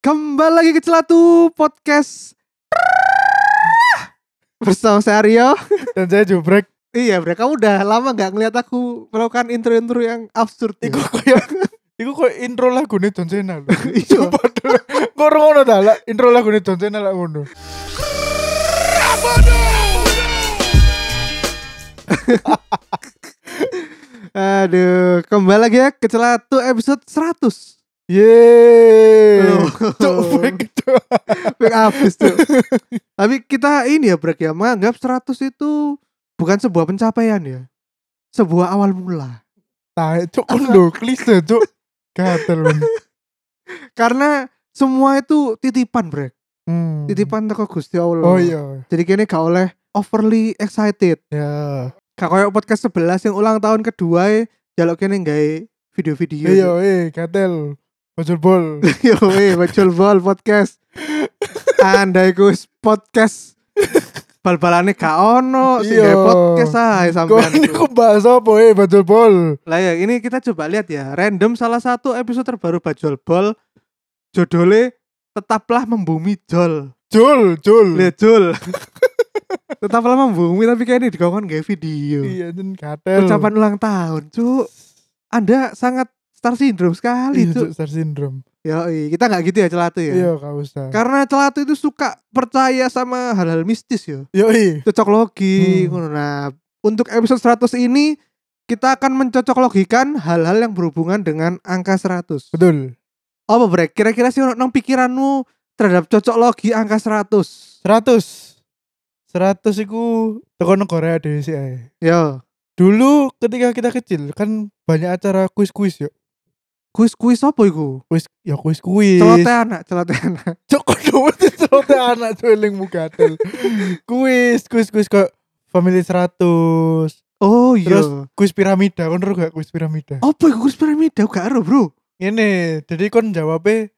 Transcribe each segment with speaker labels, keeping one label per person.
Speaker 1: Kembali lagi ke Celatu Podcast Bersama saya Aryo
Speaker 2: Dan saya jubrek.
Speaker 1: Iya bre, kamu udah lama gak ngeliat aku melakukan intro-intro yang absurd ya?
Speaker 2: Iku kayak Iku kayak intro lagu nih John Cena lho.
Speaker 1: Iya.
Speaker 2: Padahal ngono ngono dah lah intro lagu nih John Cena lah ngono.
Speaker 1: Aduh, kembali lagi ya ke Celatu episode Eh, 100
Speaker 2: Yeay.
Speaker 1: Loh.
Speaker 2: Cok brek cok.
Speaker 1: Wih, Habis tuh Tapi kita ini ya bre, ya Menganggap 100 itu bukan sebuah pencapaian ya Sebuah awal mula
Speaker 2: Tai cok kondo Nah, klise cok. Gatel men.
Speaker 1: Karena semua itu titipan bre
Speaker 2: Hmm.
Speaker 1: Titipan teko Gusti Allah
Speaker 2: Oh iya.
Speaker 1: Jadi kini gak oleh overly excited
Speaker 2: Ya.
Speaker 1: Gak koyo podcast 11 yang ulang tahun kedua e, Jaluk kene nggae video-video.
Speaker 2: Iya eh gatel. Bocor bol.
Speaker 1: Yo eh bacul bol podcast. Anda iku podcast bal-balane gak ono sing
Speaker 2: Iya.
Speaker 1: nggae podcast ae
Speaker 2: Kok
Speaker 1: sampean.
Speaker 2: ini
Speaker 1: iku.
Speaker 2: kok bahas apa eh bocor bol.
Speaker 1: Lah ya ini kita coba lihat ya, random salah satu episode terbaru bacul bol judulnya tetaplah membumi jol.
Speaker 2: Jol jol.
Speaker 1: Lihat jol. tetaplah membumi tapi kayaknya digongkon nggae video.
Speaker 2: Iya jen gatel.
Speaker 1: Ucapan ulang tahun, Cuk. Anda sangat star syndrome sekali,
Speaker 2: Iya,
Speaker 1: Cuk.
Speaker 2: Cuk, star syndrome.
Speaker 1: Yoi, kita nggak gitu ya celatu ya.
Speaker 2: Iya gak usah.
Speaker 1: Karena celatu itu suka percaya sama hal-hal mistis ya.
Speaker 2: Yoi.
Speaker 1: Cocok logi.
Speaker 2: Hmm.
Speaker 1: ngono. Nah, untuk episode 100 ini kita akan mencocok logikan hal-hal yang berhubungan dengan angka 100.
Speaker 2: Betul.
Speaker 1: Apa brek? Kira-kira sih ono nang pikiranmu terhadap cocok logi angka 100?
Speaker 2: 100 100 iku teko nang Korea dhewe sih ae.
Speaker 1: Yo,
Speaker 2: Dulu ketika kita kecil kan banyak acara kuis-kuis yo.
Speaker 1: kuis-kuis apa iku?
Speaker 2: Kuis ya kuis-kuis.
Speaker 1: Celote anak, celote anak.
Speaker 2: Cok kono wis celote anak celing mugatel. kuis, kuis-kuis kok family 100.
Speaker 1: Oh iya.
Speaker 2: Terus kuis piramida, kon ro gak kuis piramida?
Speaker 1: Apa iku kuis piramida? Gak ero, Bro.
Speaker 2: Ini, jadi kon jawabnya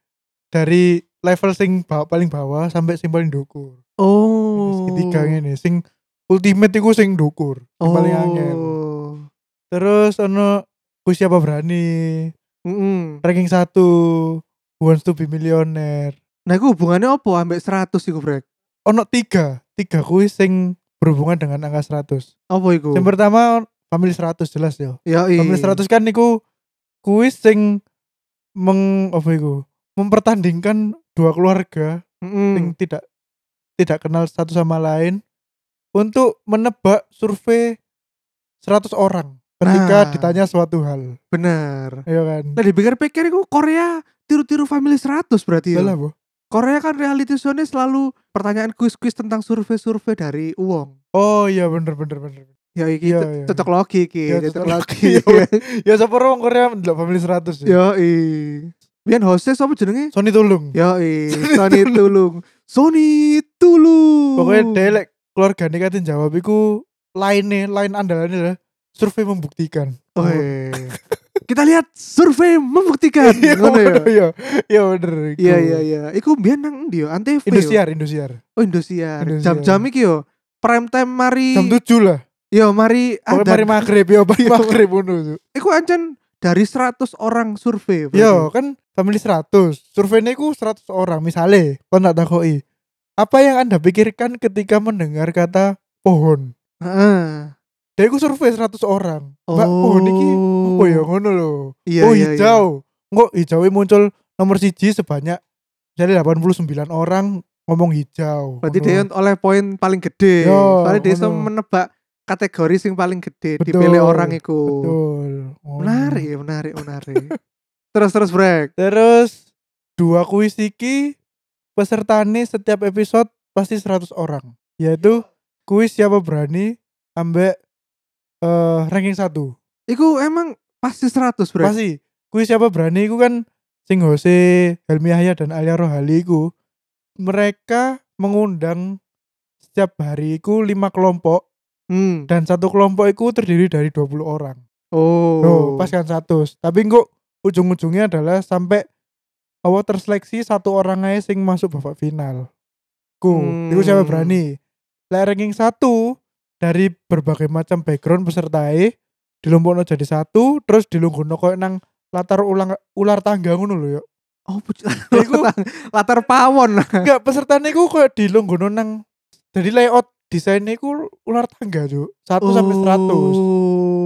Speaker 2: dari level sing ba- paling bawah sampai sing paling dukur.
Speaker 1: Oh.
Speaker 2: Ketiga ini sing ultimate iku sing dukur, sing
Speaker 1: Oh.
Speaker 2: paling angel. Terus ono ku siapa berani
Speaker 1: Mm-mm.
Speaker 2: ranking 1 Who wants to be millionaire.
Speaker 1: Nah, itu hubungannya apa ambek 100 iku, Brek?
Speaker 2: Ono tiga, tiga kuis sing berhubungan dengan angka 100.
Speaker 1: Apa iku?
Speaker 2: Yang pertama family 100 jelas ya.
Speaker 1: Ya, iya.
Speaker 2: Family 100 kan niku kuis sing meng apa iku? Mempertandingkan dua keluarga
Speaker 1: Mm-mm.
Speaker 2: sing tidak tidak kenal satu sama lain untuk menebak survei 100 orang ketika
Speaker 1: Nah.
Speaker 2: ditanya suatu hal.
Speaker 1: Bener.
Speaker 2: Iya kan?
Speaker 1: Nah, dipikir-pikir iku Korea tiru-tiru family 100 berarti. Ya.
Speaker 2: Lah Bu.
Speaker 1: Korea kan reality show-nya selalu pertanyaan kuis-kuis tentang survei-survei dari uang.
Speaker 2: Oh iya bener bener bener.
Speaker 1: Ya iki
Speaker 2: Iya,
Speaker 1: cocok
Speaker 2: iya.
Speaker 1: cocok logi iki,
Speaker 2: Iya,
Speaker 1: cocok
Speaker 2: cocok
Speaker 1: logi.
Speaker 2: logi. Ya siapa orang Korea ndelok family 100 ya.
Speaker 1: Yo i. Biyen hostnya sapa jenenge?
Speaker 2: Sony Tulung.
Speaker 1: Yo i, Sony Tulung. Sony Tulung.
Speaker 2: Pokoknya delek keluarga nih katin jawab iku line nih, line andalannya adalah survei membuktikan.
Speaker 1: Oh, iya. Kita lihat survei membuktikan.
Speaker 2: Iya
Speaker 1: Ngono ya.
Speaker 2: bener, iya. Iya bener. iku.
Speaker 1: Iya iya iya. Iku biyen nang endi yo? Antv. yo?
Speaker 2: Indosiar, Indosiar.
Speaker 1: Oh Indosiar.
Speaker 2: Indosiar.
Speaker 1: Jam-jam iki yo. Prime time mari.
Speaker 2: Jam 7 lah.
Speaker 1: Yo mari
Speaker 2: Pokoknya
Speaker 1: adzan.
Speaker 2: mari maghrib ya, mari
Speaker 1: Iya.
Speaker 2: maghrib ngono. Cuk.
Speaker 1: Iku ancen dari 100 orang survei. berarti.
Speaker 2: Yo kan family 100. Surveinya iku 100 orang misale kon tak takoki. Apa yang Anda pikirkan ketika mendengar kata pohon?
Speaker 1: Heeh.
Speaker 2: Dia iku survei 100 orang. Mbak,
Speaker 1: Oh.
Speaker 2: pohon iki apa ya ngono lho.
Speaker 1: Iya,
Speaker 2: oh
Speaker 1: iya, iya.
Speaker 2: hijau. Kok hijaunya muncul nomor siji sebanyak misalnya 89 orang ngomong hijau.
Speaker 1: Berarti
Speaker 2: Ngono.
Speaker 1: dia oleh poin paling gede.
Speaker 2: Yo,
Speaker 1: Soalnya dia
Speaker 2: ngono.
Speaker 1: iso menebak kategori sing paling gede
Speaker 2: Betul,
Speaker 1: dipilih orang iku.
Speaker 2: Betul. Ngono.
Speaker 1: Menarik ya, menarik, menarik. terus terus brek.
Speaker 2: Terus dua kuis iki pesertane setiap episode pasti 100 orang. Yaitu kuis siapa berani ambek eh, ranking 1.
Speaker 1: Iku emang pasti 100 brek.
Speaker 2: Pasti kuis siapa berani iku kan sing Jose Helmi Yahya dan Alia Rohali iku mereka mengundang setiap hari iku lima kelompok
Speaker 1: Hmm.
Speaker 2: dan satu kelompok iku terdiri dari 20 orang.
Speaker 1: Oh.
Speaker 2: Oh, pas kan 100. Tapi kok ujung-ujungnya adalah sampai awal terseleksi satu orang aja sing masuk babak final. Ku,
Speaker 1: Hmm.
Speaker 2: itu siapa berani? Lek ranking 1 dari berbagai macam background pesertae dilumpuhno jadi satu, terus dilungguhno koyo nang latar ulang ular tangga ngono lho yo.
Speaker 1: Oh, puc-
Speaker 2: Iku-
Speaker 1: latar, latar pawon.
Speaker 2: Enggak, pesertane ku koyo dilungguhno nang jadi layout desainnya ku ular tangga, Cuk. 1 sampai 100.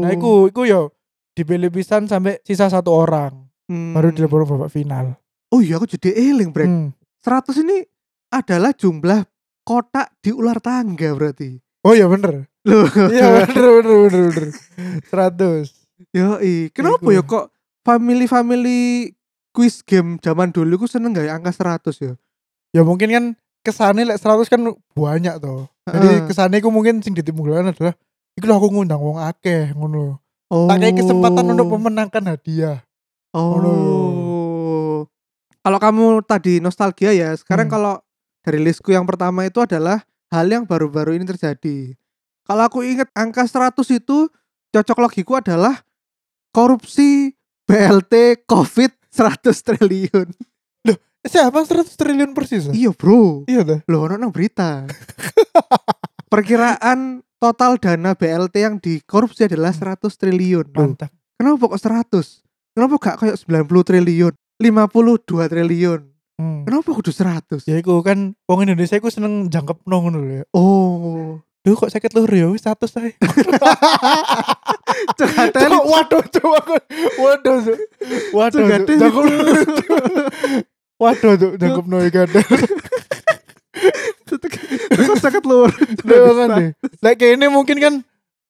Speaker 2: Nah, iku iku yo dipilih pisan sampai sisa satu orang.
Speaker 1: Hmm.
Speaker 2: baru dilebur babak final.
Speaker 1: Oh iya aku jadi eling, Brek.
Speaker 2: Hmm.
Speaker 1: 100 ini adalah jumlah kotak di ular tangga berarti.
Speaker 2: Oh iya bener.
Speaker 1: Loh.
Speaker 2: Iya bener bener bener bener. Seratus.
Speaker 1: Yoi, kenapa
Speaker 2: Iku.
Speaker 1: ya kok family-family quiz game zaman dulu ku seneng gak ya angka 100 ya?
Speaker 2: Ya mungkin kan kesannya lek seratus kan banyak toh. Jadi
Speaker 1: Heeh.
Speaker 2: kesannya ku mungkin sing ditimbulkan adalah Iku lho aku ngundang wong akeh ngono.
Speaker 1: oh.
Speaker 2: Tak kayak kesempatan untuk memenangkan hadiah. Ngono.
Speaker 1: Oh. Kalau kamu tadi nostalgia ya, sekarang
Speaker 2: Hmm.
Speaker 1: kalau dari listku yang pertama itu adalah hal yang baru-baru ini terjadi. Kalau aku ingat angka 100 itu cocok logiku adalah korupsi BLT COVID 100 triliun.
Speaker 2: Siapa 100 triliun persis? lah?
Speaker 1: Iya, Bro.
Speaker 2: Iya dah.
Speaker 1: Loh, ono nang berita. Perkiraan total dana BLT yang dikorupsi adalah 100 triliun. Loh,
Speaker 2: Mantap.
Speaker 1: kenapa kok 100? Kenapa gak kayak 90 triliun? 52 triliun.
Speaker 2: Hmm.
Speaker 1: Kenapa kudu 100?
Speaker 2: Ya iku kan wong Indonesia iku seneng jangkep nong ngono lho ya.
Speaker 1: Oh.
Speaker 2: Duh kok sakit lur ya wis 100 ae.
Speaker 1: Cegaten.
Speaker 2: Cuk, waduh cuk aku. Waduh cuk. Waduh cuk.
Speaker 1: Cegaten.
Speaker 2: Jangkep Waduh cuk jangkep noy kan. ganda. kan.
Speaker 1: Kok kan sangat luar.
Speaker 2: Doangan deh. Lah kene mungkin kan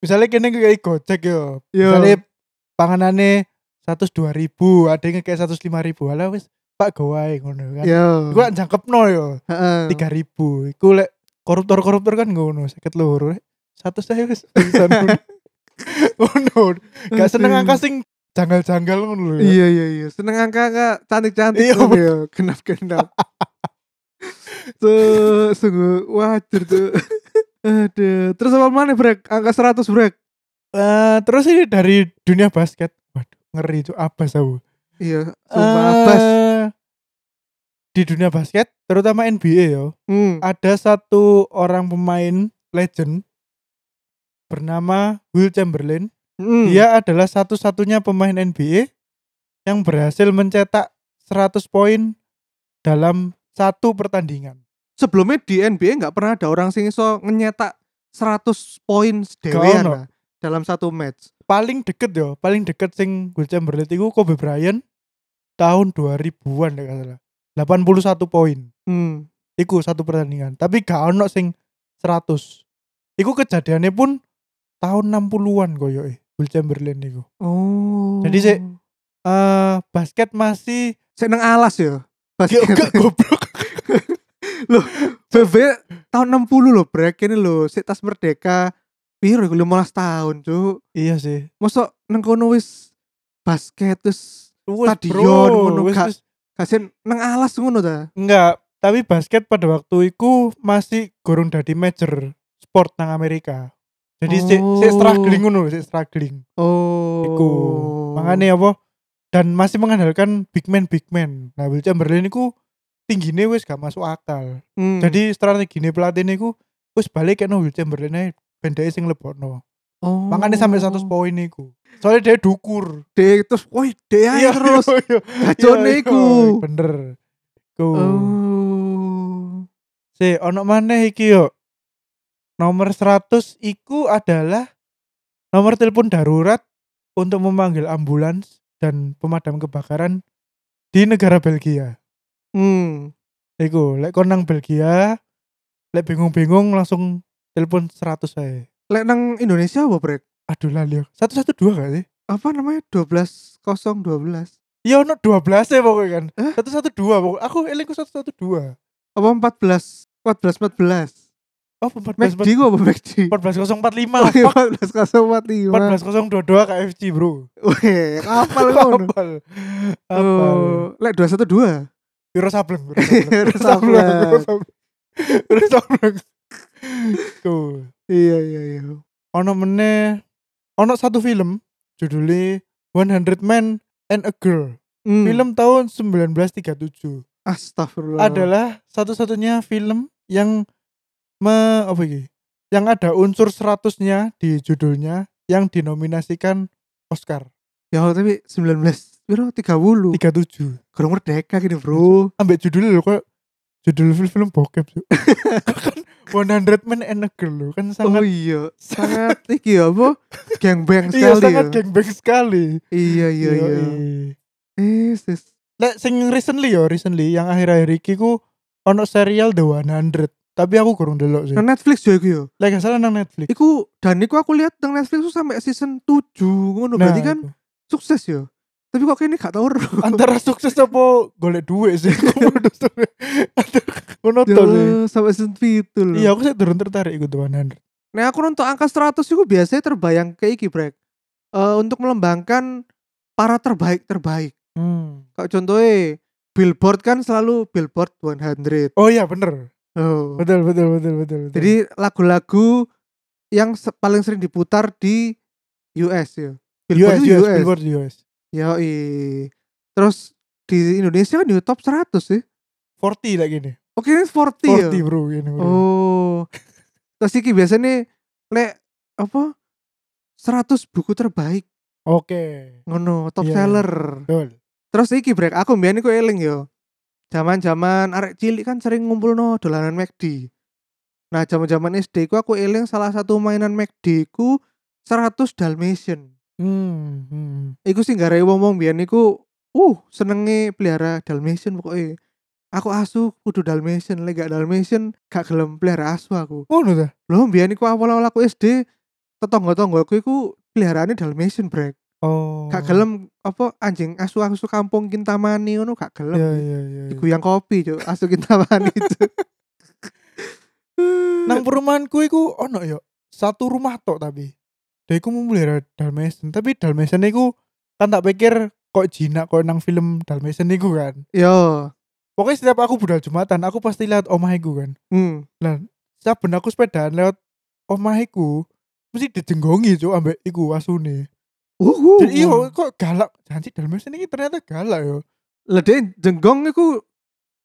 Speaker 2: misalnya kene kayak gojek yo.
Speaker 1: Yo.
Speaker 2: Misalnya panganane 102 ribu, ada yang kayak 105 ribu. Alah wis Pak gawai ngono kan.
Speaker 1: Yo.
Speaker 2: Iku kan jangkep no yo.
Speaker 1: Heeh.
Speaker 2: 3 ribu. Iku lek koruptor-koruptor kan ngono, sakit loro. lek. Satu saya wis. pisan ngono. Ngono. Gak seneng
Speaker 1: Aduh.
Speaker 2: angka sing janggal-janggal ngono lho. ya.
Speaker 1: Iya iya iya. Seneng angka-angka cantik-cantik.
Speaker 2: Iya,
Speaker 1: ngono ya. Genap-genap. tuh sungguh wajar tuh. Aduh. Terus apa mana brek? Angka 100 brek.
Speaker 2: Eh, terus ini dari dunia basket. Waduh, ngeri itu abas aku.
Speaker 1: Iya. Sumpah
Speaker 2: Eh,
Speaker 1: abas.
Speaker 2: Di dunia basket, terutama NBA yo,
Speaker 1: Hmm.
Speaker 2: ada satu orang pemain legend bernama Will Chamberlain.
Speaker 1: Hmm.
Speaker 2: Dia adalah satu-satunya pemain NBA yang berhasil mencetak 100 poin dalam satu pertandingan.
Speaker 1: Sebelumnya di NBA nggak pernah ada orang sing iso nyetak 100 poin
Speaker 2: Gak
Speaker 1: dewean
Speaker 2: ono.
Speaker 1: lah dalam satu match.
Speaker 2: Paling deket yo, paling deket sing Will Chamberlain itu Kobe Bryant tahun 2000-an ya nggak salah. 81 poin.
Speaker 1: Hmm.
Speaker 2: Iku satu pertandingan. Tapi gak ono sing 100. Iku kejadiannya pun tahun 60-an koyo e. Will Chamberlain iku.
Speaker 1: Oh.
Speaker 2: Jadi, sik, Eh basket masih
Speaker 1: Sik nang alas ya.
Speaker 2: Yo,
Speaker 1: Basket.
Speaker 2: gak goblok.
Speaker 1: BB tahun 60 loh brek ini loh. Sik tas merdeka. Piro iku 15 tahun, Cuk.
Speaker 2: iya sih.
Speaker 1: Mosok nang kono wis basket terus
Speaker 2: Wes,
Speaker 1: Stadion
Speaker 2: bro.
Speaker 1: ngono,
Speaker 2: Wes,
Speaker 1: gak-
Speaker 2: wes.
Speaker 1: kasih nang alas ngono ta.
Speaker 2: Enggak, tapi basket pada waktu iku masih gorong dadi major sport nang Amerika. Jadi sik sik
Speaker 1: Oh.
Speaker 2: struggling ngono, sik struggling.
Speaker 1: Oh.
Speaker 2: Iku. Makanya apa? Dan masih mengandalkan big man big man. Nah, Will Chamberlain iku tingginya wis gak masuk akal.
Speaker 1: Hmm.
Speaker 2: Jadi strategi ini pelatih niku wis balik kena Will Chamberlain ae bendeke sing lebokno.
Speaker 1: oh.
Speaker 2: Makanya sampai 100 poin niku. Soalnya dia dukur.
Speaker 1: Dek, terus woi dek aja Ya, terus.
Speaker 2: iya,
Speaker 1: Gacone
Speaker 2: iya,
Speaker 1: iku.
Speaker 2: iya, Bener. Ku.
Speaker 1: Oh.
Speaker 2: Si ono maneh iki yo. Nomor 100 iku adalah nomor telepon darurat untuk memanggil ambulans dan pemadam kebakaran di negara Belgia.
Speaker 1: Hmm.
Speaker 2: Iku, lek kon nang Belgia, lek bingung-bingung langsung telepon 100 saya.
Speaker 1: Lek nang Indonesia apa brek?
Speaker 2: Aduh lali aku. 112 gak sih?
Speaker 1: Apa namanya? 12012.
Speaker 2: Iya ono 12 ya pokoknya kan.
Speaker 1: Eh?
Speaker 2: 112 pokoknya. Aku elingku 112.
Speaker 1: apa 14 14 14
Speaker 2: Oh, 14
Speaker 1: McD gua apa McD?
Speaker 2: 14045.
Speaker 1: Oke,
Speaker 2: Fuck,
Speaker 1: 14.045.
Speaker 2: 14022 KFC, Bro.
Speaker 1: Weh, kapal ngono.
Speaker 2: Apal. Apal.
Speaker 1: Oh, Lek 212.
Speaker 2: Wiro sableng.
Speaker 1: Wiro
Speaker 2: Wiro sableng. Wiro sableng. Wiro sableng. Tuh.
Speaker 1: Iya iya iya.
Speaker 2: Ono meneh ono satu film judulnya 100 Men and a Girl.
Speaker 1: Hmm.
Speaker 2: Film tahun 1937.
Speaker 1: Astagfirullah.
Speaker 2: Adalah satu-satunya film yang me, apa iki? Yang ada unsur 100-nya di judulnya yang dinominasikan Oscar
Speaker 1: Ya Allah, tapi 19 Bro 30
Speaker 2: 37.
Speaker 1: Gerung merdeka gini bro
Speaker 2: ambek judulnya lho kok judul film bokep Cuk. kan 100 men and a girl lho
Speaker 1: Oh
Speaker 2: kan sangat
Speaker 1: iya Sangat Iki ya, apa Gengbang
Speaker 2: iya
Speaker 1: sekali
Speaker 2: sangat
Speaker 1: ya.
Speaker 2: gangbang sekali
Speaker 1: Iya iya iya
Speaker 2: Yoi.
Speaker 1: Eh sis
Speaker 2: Lek sing recently yo recently yang akhir-akhir iki ku ono serial The 100 tapi aku kurang delok sih
Speaker 1: Nah Netflix juga iku ya
Speaker 2: lek gak salah nang Netflix
Speaker 1: Iku Dan iku aku lihat Nang Netflix tuh sampai season 7 ngono Berarti kan
Speaker 2: iku.
Speaker 1: Sukses ya Tapi kok kayaknya gak tau ro.
Speaker 2: antara sukses apa golek duit sih Aku bodoh sih. Antara- aku
Speaker 1: Ya
Speaker 2: nonton sih
Speaker 1: Allah, Sampai season 7 loh
Speaker 2: iya aku sih turun tertarik ikut The 100
Speaker 1: Nah aku nonton angka 100 itu biasanya terbayang kayak iki brek. Eh, untuk melembangkan para terbaik terbaik.
Speaker 2: hmm.
Speaker 1: Kayak contohnya Billboard kan selalu Billboard 100.
Speaker 2: oh iya bener
Speaker 1: Oh.
Speaker 2: betul betul betul betul, betul.
Speaker 1: Jadi lagu-lagu yang se- paling sering diputar di US ya.
Speaker 2: US,
Speaker 1: Billboard itu
Speaker 2: US,
Speaker 1: US.
Speaker 2: Billboard US.
Speaker 1: Yoi. Terus di Indonesia kan di top 100 sih.
Speaker 2: 40 lagi nih.
Speaker 1: Oke ini 40, ya.
Speaker 2: 40 bro ini. Bro.
Speaker 1: Oh. Terus iki biasanya lek apa 100 buku terbaik
Speaker 2: Oke.
Speaker 1: ngono top
Speaker 2: Iya, iya.
Speaker 1: seller
Speaker 2: Betul.
Speaker 1: terus iki brek aku mbiyen iku eling yo jaman-jaman arek cilik kan sering ngumpulno dolanan McD nah jaman-jaman SD ku aku eling salah satu mainan McD ku 100 Dalmatian
Speaker 2: Hmm. hmm.
Speaker 1: iku sing gara wong-wong mbiyen iku uh senenge pelihara Dalmatian pokoknya aku asu kudu Dalmatian lek gak Dalmatian gak gelem pelihara asu aku
Speaker 2: Ngono ta?
Speaker 1: lho mbiyen iku awal-awal aku SD tetangga-tanggaku iku peliharaannya Dalmatian brek
Speaker 2: Oh.
Speaker 1: gak gelem apa anjing asu asu kampung kintamani ngono gak gelem
Speaker 2: Iya iya iya. iya.
Speaker 1: diguyang kopi cuk asu kintamani itu
Speaker 2: Nang perumahanku iku ono yo. Satu rumah tok tapi. Dia iku memelihara Dalmatian, tapi Dalmatian iku kan tak pikir kok jinak kok nang film Dalmatian iku kan.
Speaker 1: yo
Speaker 2: Pokoknya setiap aku budal Jumatan, aku pasti lihat omahku kan.
Speaker 1: hmm.
Speaker 2: Setiap ben aku sepedaan lewat omahku mesti dijenggongi cuy ambek iku asune.
Speaker 1: uhu
Speaker 2: Jadi iyo kok galak janji Dalmatian ini ternyata galak yo.
Speaker 1: lede jenggong iku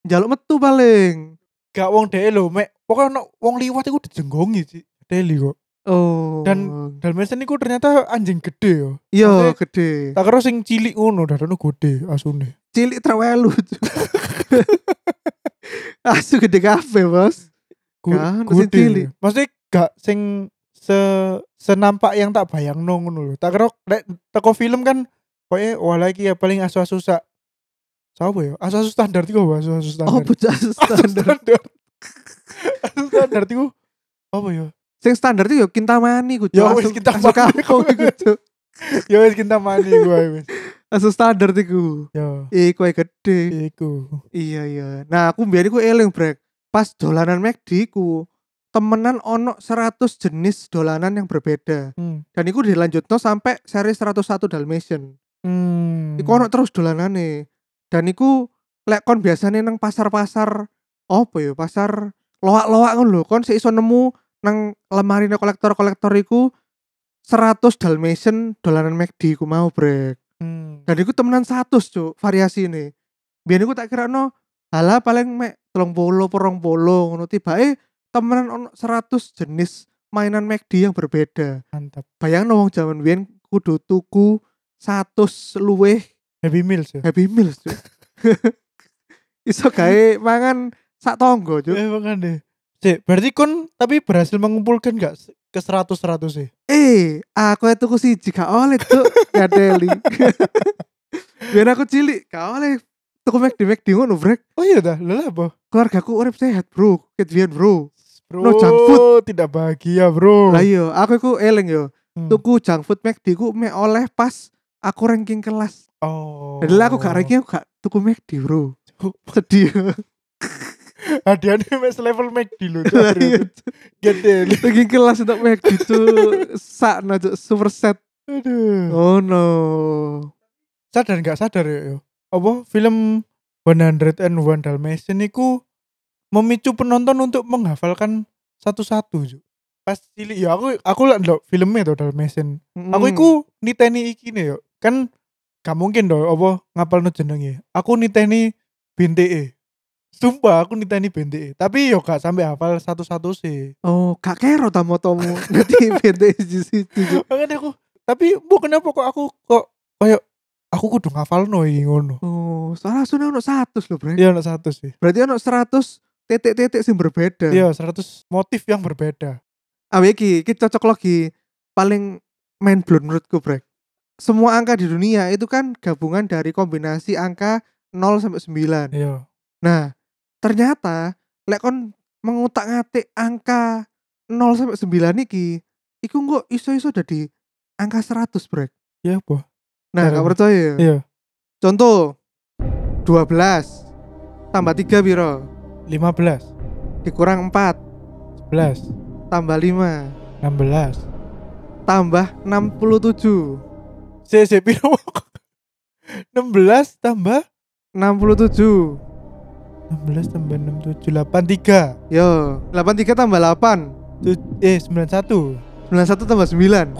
Speaker 1: njaluk metu paling
Speaker 2: Gak wong dhewe lho mek pokoknya ono wong liwat iku dijenggongi sih. Deli kok.
Speaker 1: oh
Speaker 2: Dan- Dalmatian iku ternyata anjing gede yo.
Speaker 1: yo
Speaker 2: maksudnya-
Speaker 1: gede
Speaker 2: Tak kira sing cilik ngono dadono gede asune.
Speaker 1: cilik terwelu Cuk. asu gede kafe bos
Speaker 2: Gu-
Speaker 1: Kan, sing cilik.
Speaker 2: Maksudnya gak sing se senampak yang tak bayangno ngono lho. Tak kira lek teko film kan koe wala iki ya paling asu-asu sak Sapa ya? Asu-asu standar iku apa? asu-asu
Speaker 1: oh
Speaker 2: standar.
Speaker 1: bocah asu standar
Speaker 2: standar. asu standar iku apa ya?
Speaker 1: sing standar itu yo kintamani ku
Speaker 2: Ya wis, Kintamani.
Speaker 1: asu kampung iku, Cuk.
Speaker 2: ya wis kita mani gue wis
Speaker 1: asu standar iku
Speaker 2: ya
Speaker 1: iku ae gede
Speaker 2: iku
Speaker 1: Iya iya. Nah aku biar aku eling brek. Pas dolanan McD ku temenan ono 100 jenis dolanan yang berbeda.
Speaker 2: hmm.
Speaker 1: Dan iku dilanjutno sampai seri 101 Dalmatian.
Speaker 2: Hmm.
Speaker 1: Iku ono terus dolanane. Dan iku lek kon biasane nang pasar-pasar apa ya? Pasar loak-loak ngono lho. Kon sik iso nemu nang lemari kolektor-kolektor iku 100 Dalmatian dolanan McD ku mau brek.
Speaker 2: Hmm.
Speaker 1: Dan iku temenan 100 cuk variasi ini. Biar aku tak kira no halah paling mek telung polo porong polo ngono tiba eh temenan ono 100 jenis mainan McD yang berbeda.
Speaker 2: mantap
Speaker 1: Bayang no wong jaman biyen kudu tuku 100 luweh
Speaker 2: happy meals ya
Speaker 1: Happy Meals cuk. Iso gawe mangan sak tonggo cuk.
Speaker 2: eh makan deh Sik, berarti kon tapi berhasil mengumpulkan gak se- ke e? 100 100 sih
Speaker 1: Eh, aku itu ku siji gak oleh cuk, gak deli. Biar aku cilik gak oleh tuku McD McD ngono brek.
Speaker 2: oh iya dah lelah apa
Speaker 1: Keluargaku urip sehat, Bro. Ketvian, Bro.
Speaker 2: bro
Speaker 1: No junk food.
Speaker 2: tidak bahagia bro
Speaker 1: Lah iya, aku iku eling yo.
Speaker 2: Hmm.
Speaker 1: Tuku junk food McD ku mek oleh pas aku ranking kelas.
Speaker 2: oh
Speaker 1: Padahal aku gak ranking aku gak tuku McD, Bro. Sedih.
Speaker 2: Hadiahnya mes level McD lho.
Speaker 1: Lah, iya, Cuk.
Speaker 2: Gede.
Speaker 1: Lagi kelas untuk make gitu sakna Cuk, super set.
Speaker 2: Aduh.
Speaker 1: Oh no.
Speaker 2: Sadar nggak sadar ya. yo. Apa film 101 Dalmatian niku memicu penonton untuk menghafalkan satu-satu. Cuk. Pas cilik ya aku aku lah ndelok filmnya tuh Dalmatian. Aku
Speaker 1: Mm.
Speaker 2: iku niteni iki nih yo. Kan gak mungkin dong apa ngapalno jenenge. Aku niteni BNTE. Sumpah aku niteni BNTE. Tapi yo gak sampai hafal satu-satu sih.
Speaker 1: Oh, gak kero ta motomu. Nanti bete di situ. Cuk.
Speaker 2: Makanya aku tapi bu kenapa kok aku kok koyo aku kudu ngafalno iki ngono.
Speaker 1: Oh, salah sune ono 100 lho, Bre.
Speaker 2: Iya ono satu sih.
Speaker 1: Berarti ono 100 titik-titik sing berbeda.
Speaker 2: Iya 100 motif yang berbeda.
Speaker 1: Awe iki, iki cocok lagi paling main blown menurutku, Brek. Semua angka di dunia itu kan gabungan dari kombinasi angka 0 sampai 9.
Speaker 2: Iya.
Speaker 1: Nah, ternyata lek kon mengutak-ngatik angka 0 sampai 9 iki, iku kok iso-iso dadi angka 100, Brek.
Speaker 2: Iya apa?
Speaker 1: Nah,
Speaker 2: Keren.
Speaker 1: gak percaya ya?
Speaker 2: Iya.
Speaker 1: Contoh 12 tambah 3 piro?
Speaker 2: 15,
Speaker 1: Dikurang 4
Speaker 2: 11,
Speaker 1: tambah 5
Speaker 2: 16.
Speaker 1: tambah 67.
Speaker 2: Sik sik piro? 16 tambah
Speaker 1: 67
Speaker 2: 16 tambah 6 7 8
Speaker 1: Yo 83 tambah 8
Speaker 2: 3 Tu- eh 91
Speaker 1: 91 tambah 9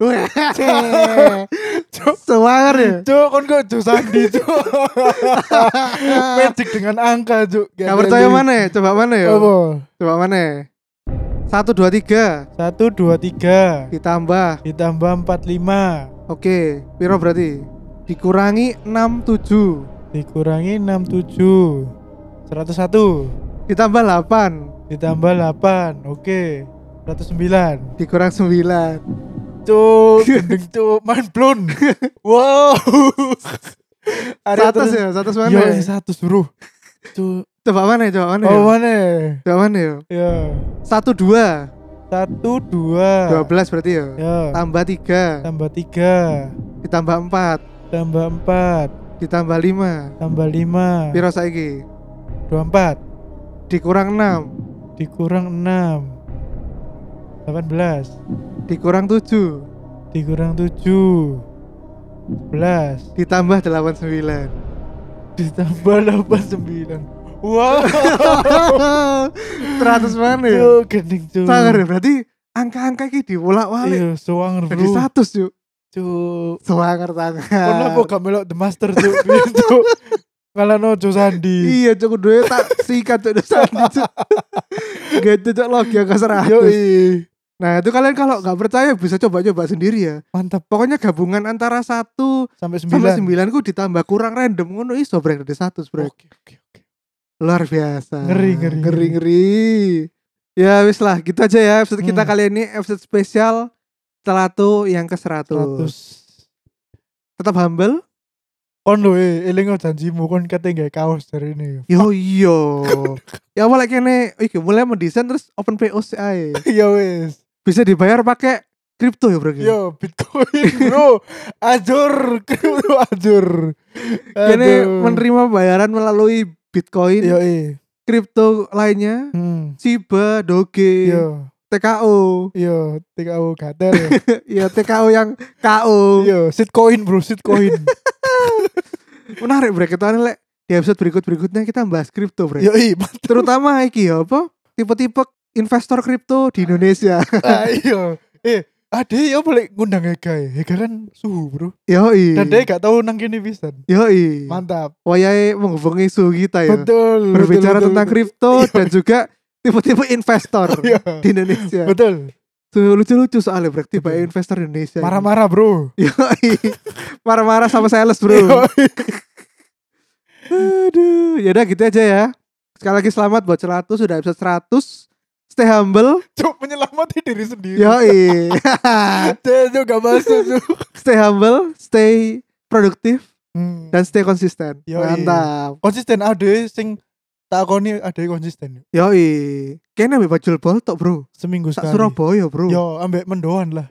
Speaker 1: Weh.
Speaker 2: Cuk.
Speaker 1: Semangat ya
Speaker 2: Cuk kon kok kan Cuk Sandi Cuk Magic dengan angka Cuk
Speaker 1: Gak percaya mana ya? Coba mana ya?
Speaker 2: Apa?
Speaker 1: Coba mana ya? 1, 2, 3
Speaker 2: 1 2 3
Speaker 1: Ditambah
Speaker 2: ditambah 45
Speaker 1: Oke Piro berarti? Dikurangi 6, 7
Speaker 2: dikurangi 67 101
Speaker 1: Ditambah 8
Speaker 2: ditambah 8 Oke 109
Speaker 1: Dikurang 9
Speaker 2: Cuk Gendeng Cuk Mind blown Wow Ada
Speaker 1: Satu
Speaker 2: terus-
Speaker 1: ya? Satu mana
Speaker 2: Yo,
Speaker 1: ya?
Speaker 2: satu suruh. Tuh,
Speaker 1: Coba mana ya? Coba mana ya?
Speaker 2: oh mana?
Speaker 1: Coba mana ya?
Speaker 2: Ya,
Speaker 1: 1, 2
Speaker 2: satu dua.
Speaker 1: 12 berarti ya?
Speaker 2: Ya,
Speaker 1: Tambah 3
Speaker 2: tambah tiga,
Speaker 1: Ditambah 4
Speaker 2: tambah empat,
Speaker 1: Ditambah 5
Speaker 2: tambah lima,
Speaker 1: Piro saiki?
Speaker 2: dua empat,
Speaker 1: Dikurang 6
Speaker 2: dikurang enam, delapan belas,
Speaker 1: Dikurang 7
Speaker 2: dikurang tujuh, sebelas,
Speaker 1: Ditambah 89
Speaker 2: ditambah delapan sembilan. Wow,
Speaker 1: Teratus mana ya?
Speaker 2: Cuk, gending tuh.
Speaker 1: Sangar ya? Berarti angka-angka ini diulak walik
Speaker 2: Iya, suang
Speaker 1: Jadi
Speaker 2: bro.
Speaker 1: status yuk
Speaker 2: Cuk.
Speaker 1: Sangar
Speaker 2: Kon
Speaker 1: tangan
Speaker 2: apa gak melok The Master cuk Piye, cuk. Ngalahno Jo Sandi.
Speaker 1: Iya cukup duit tak sikat cok dosa Gak cocok logi angka
Speaker 2: iya.
Speaker 1: 100
Speaker 2: Yoi.
Speaker 1: Nah itu kalian kalau nggak percaya bisa coba-coba sendiri ya
Speaker 2: Mantap
Speaker 1: Pokoknya gabungan antara 1
Speaker 2: sampai
Speaker 1: sampai
Speaker 2: 9.
Speaker 1: 9 ku ditambah kurang random Ngono iso brek dari 100 brek
Speaker 2: Oke oke oke.
Speaker 1: Luar biasa.
Speaker 2: Oh. Ngeri, ngeri,
Speaker 1: ngeri, ngeri. Ya wis lah, gitu aja ya episode kita
Speaker 2: Hmm.
Speaker 1: kali ini episode spesial Telatu yang ke-100.
Speaker 2: 100.
Speaker 1: Tetap humble.
Speaker 2: Kon lho eh eling janjimu kon kate nggae kaos dari ini.
Speaker 1: Yo yo. ya apa lagi kene iki mulai mendesain terus open PO sih ae.
Speaker 2: Ya wis.
Speaker 1: Bisa dibayar pakai kripto ya, Bro. ya?
Speaker 2: Yo Bitcoin bro. Ajur, kripto ajur.
Speaker 1: Kene menerima bayaran melalui
Speaker 2: Yo eh.
Speaker 1: Bitcoin, kripto lainnya,
Speaker 2: Hmm.
Speaker 1: Shiba, Doge,
Speaker 2: Yo
Speaker 1: TKO.
Speaker 2: yo TKO gatel. ya.
Speaker 1: ya TKO yang KO.
Speaker 2: Yo shitcoin bro, shitcoin.
Speaker 1: Menarik, Bro. Kita lek di episode berikut-berikutnya kita bahas kripto, Bro.
Speaker 2: Yo eh, mantap.
Speaker 1: terutama iki ya apa tipe-tipe investor kripto di
Speaker 2: Nah.
Speaker 1: Indonesia
Speaker 2: Ayo. Ah, Eh, ade ya boleh ngundang Ega ya. Ega kan suhu, Bro.
Speaker 1: yoi
Speaker 2: Dan dia gak tahu nang kene pisan.
Speaker 1: yoi
Speaker 2: Mantap.
Speaker 1: wayahe menghubungi suhu kita ya
Speaker 2: Betul.
Speaker 1: berbicara
Speaker 2: betul,
Speaker 1: tentang
Speaker 2: betul.
Speaker 1: kripto dan juga tipe-tipe investor
Speaker 2: Iya.
Speaker 1: di Indonesia
Speaker 2: Betul.
Speaker 1: Tuh, lucu-lucu soalnya berarti tipe
Speaker 2: Betul.
Speaker 1: investor di Indonesia
Speaker 2: Marah-marah, Bro.
Speaker 1: yoi marah-marah sama sales
Speaker 2: Iya.
Speaker 1: bro aduh yaudah gitu aja ya sekali lagi selamat buat 100 sudah episode 100 stay humble
Speaker 2: Cuk menyelamati diri sendiri.
Speaker 1: yoi
Speaker 2: Cuk, Cuk gak masuk, Cuk.
Speaker 1: stay humble stay produktif
Speaker 2: Hmm.
Speaker 1: dan stay konsisten.
Speaker 2: Yoi.
Speaker 1: Mantap.
Speaker 2: konsisten ade sing takoni ade konsisten. yuk.
Speaker 1: Yoi. Kene ambek bajul boltok, Bro.
Speaker 2: Seminggu
Speaker 1: Sak
Speaker 2: sekali.
Speaker 1: Surabaya, Bro.
Speaker 2: Yo, ambek mendoan lah.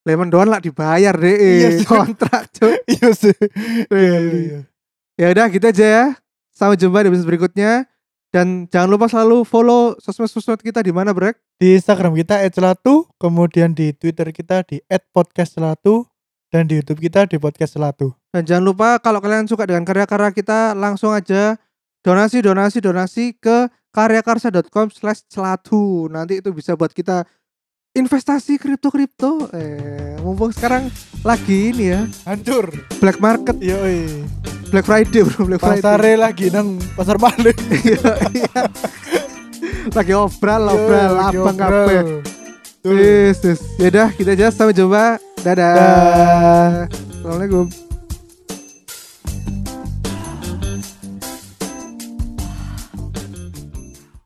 Speaker 1: Lemon doan lah dibayar deh.
Speaker 2: Iya sih.
Speaker 1: Kontrak, Cuk.
Speaker 2: Iya sih.
Speaker 1: Iya,
Speaker 2: Iya, iya.
Speaker 1: Ya udah gitu aja ya. Sampai jumpa di episode berikutnya. Dan jangan lupa selalu follow sosmed-sosmed kita di mana, Brek?
Speaker 2: Di Instagram kita @celatu, kemudian di Twitter kita di @podcastcelatu dan di YouTube kita di podcast celatu.
Speaker 1: Dan jangan lupa kalau kalian suka dengan karya-karya kita langsung aja donasi donasi donasi ke karyakarsa.com slash celatu. Nanti itu bisa buat kita investasi kripto-kripto. Eh, mumpung sekarang lagi ini ya
Speaker 2: Hancur.
Speaker 1: black market,
Speaker 2: Yoi.
Speaker 1: Black Friday bro, Black Friday.
Speaker 2: Pasare lagi nang pasar balik.
Speaker 1: Iya, iya. lagi obral, obral, abang kabeh. Ya
Speaker 2: Tuh.
Speaker 1: Yes, yes. Yaudah, kita aja sampai jumpa. Dadah.
Speaker 2: Dah.
Speaker 1: Assalamualaikum.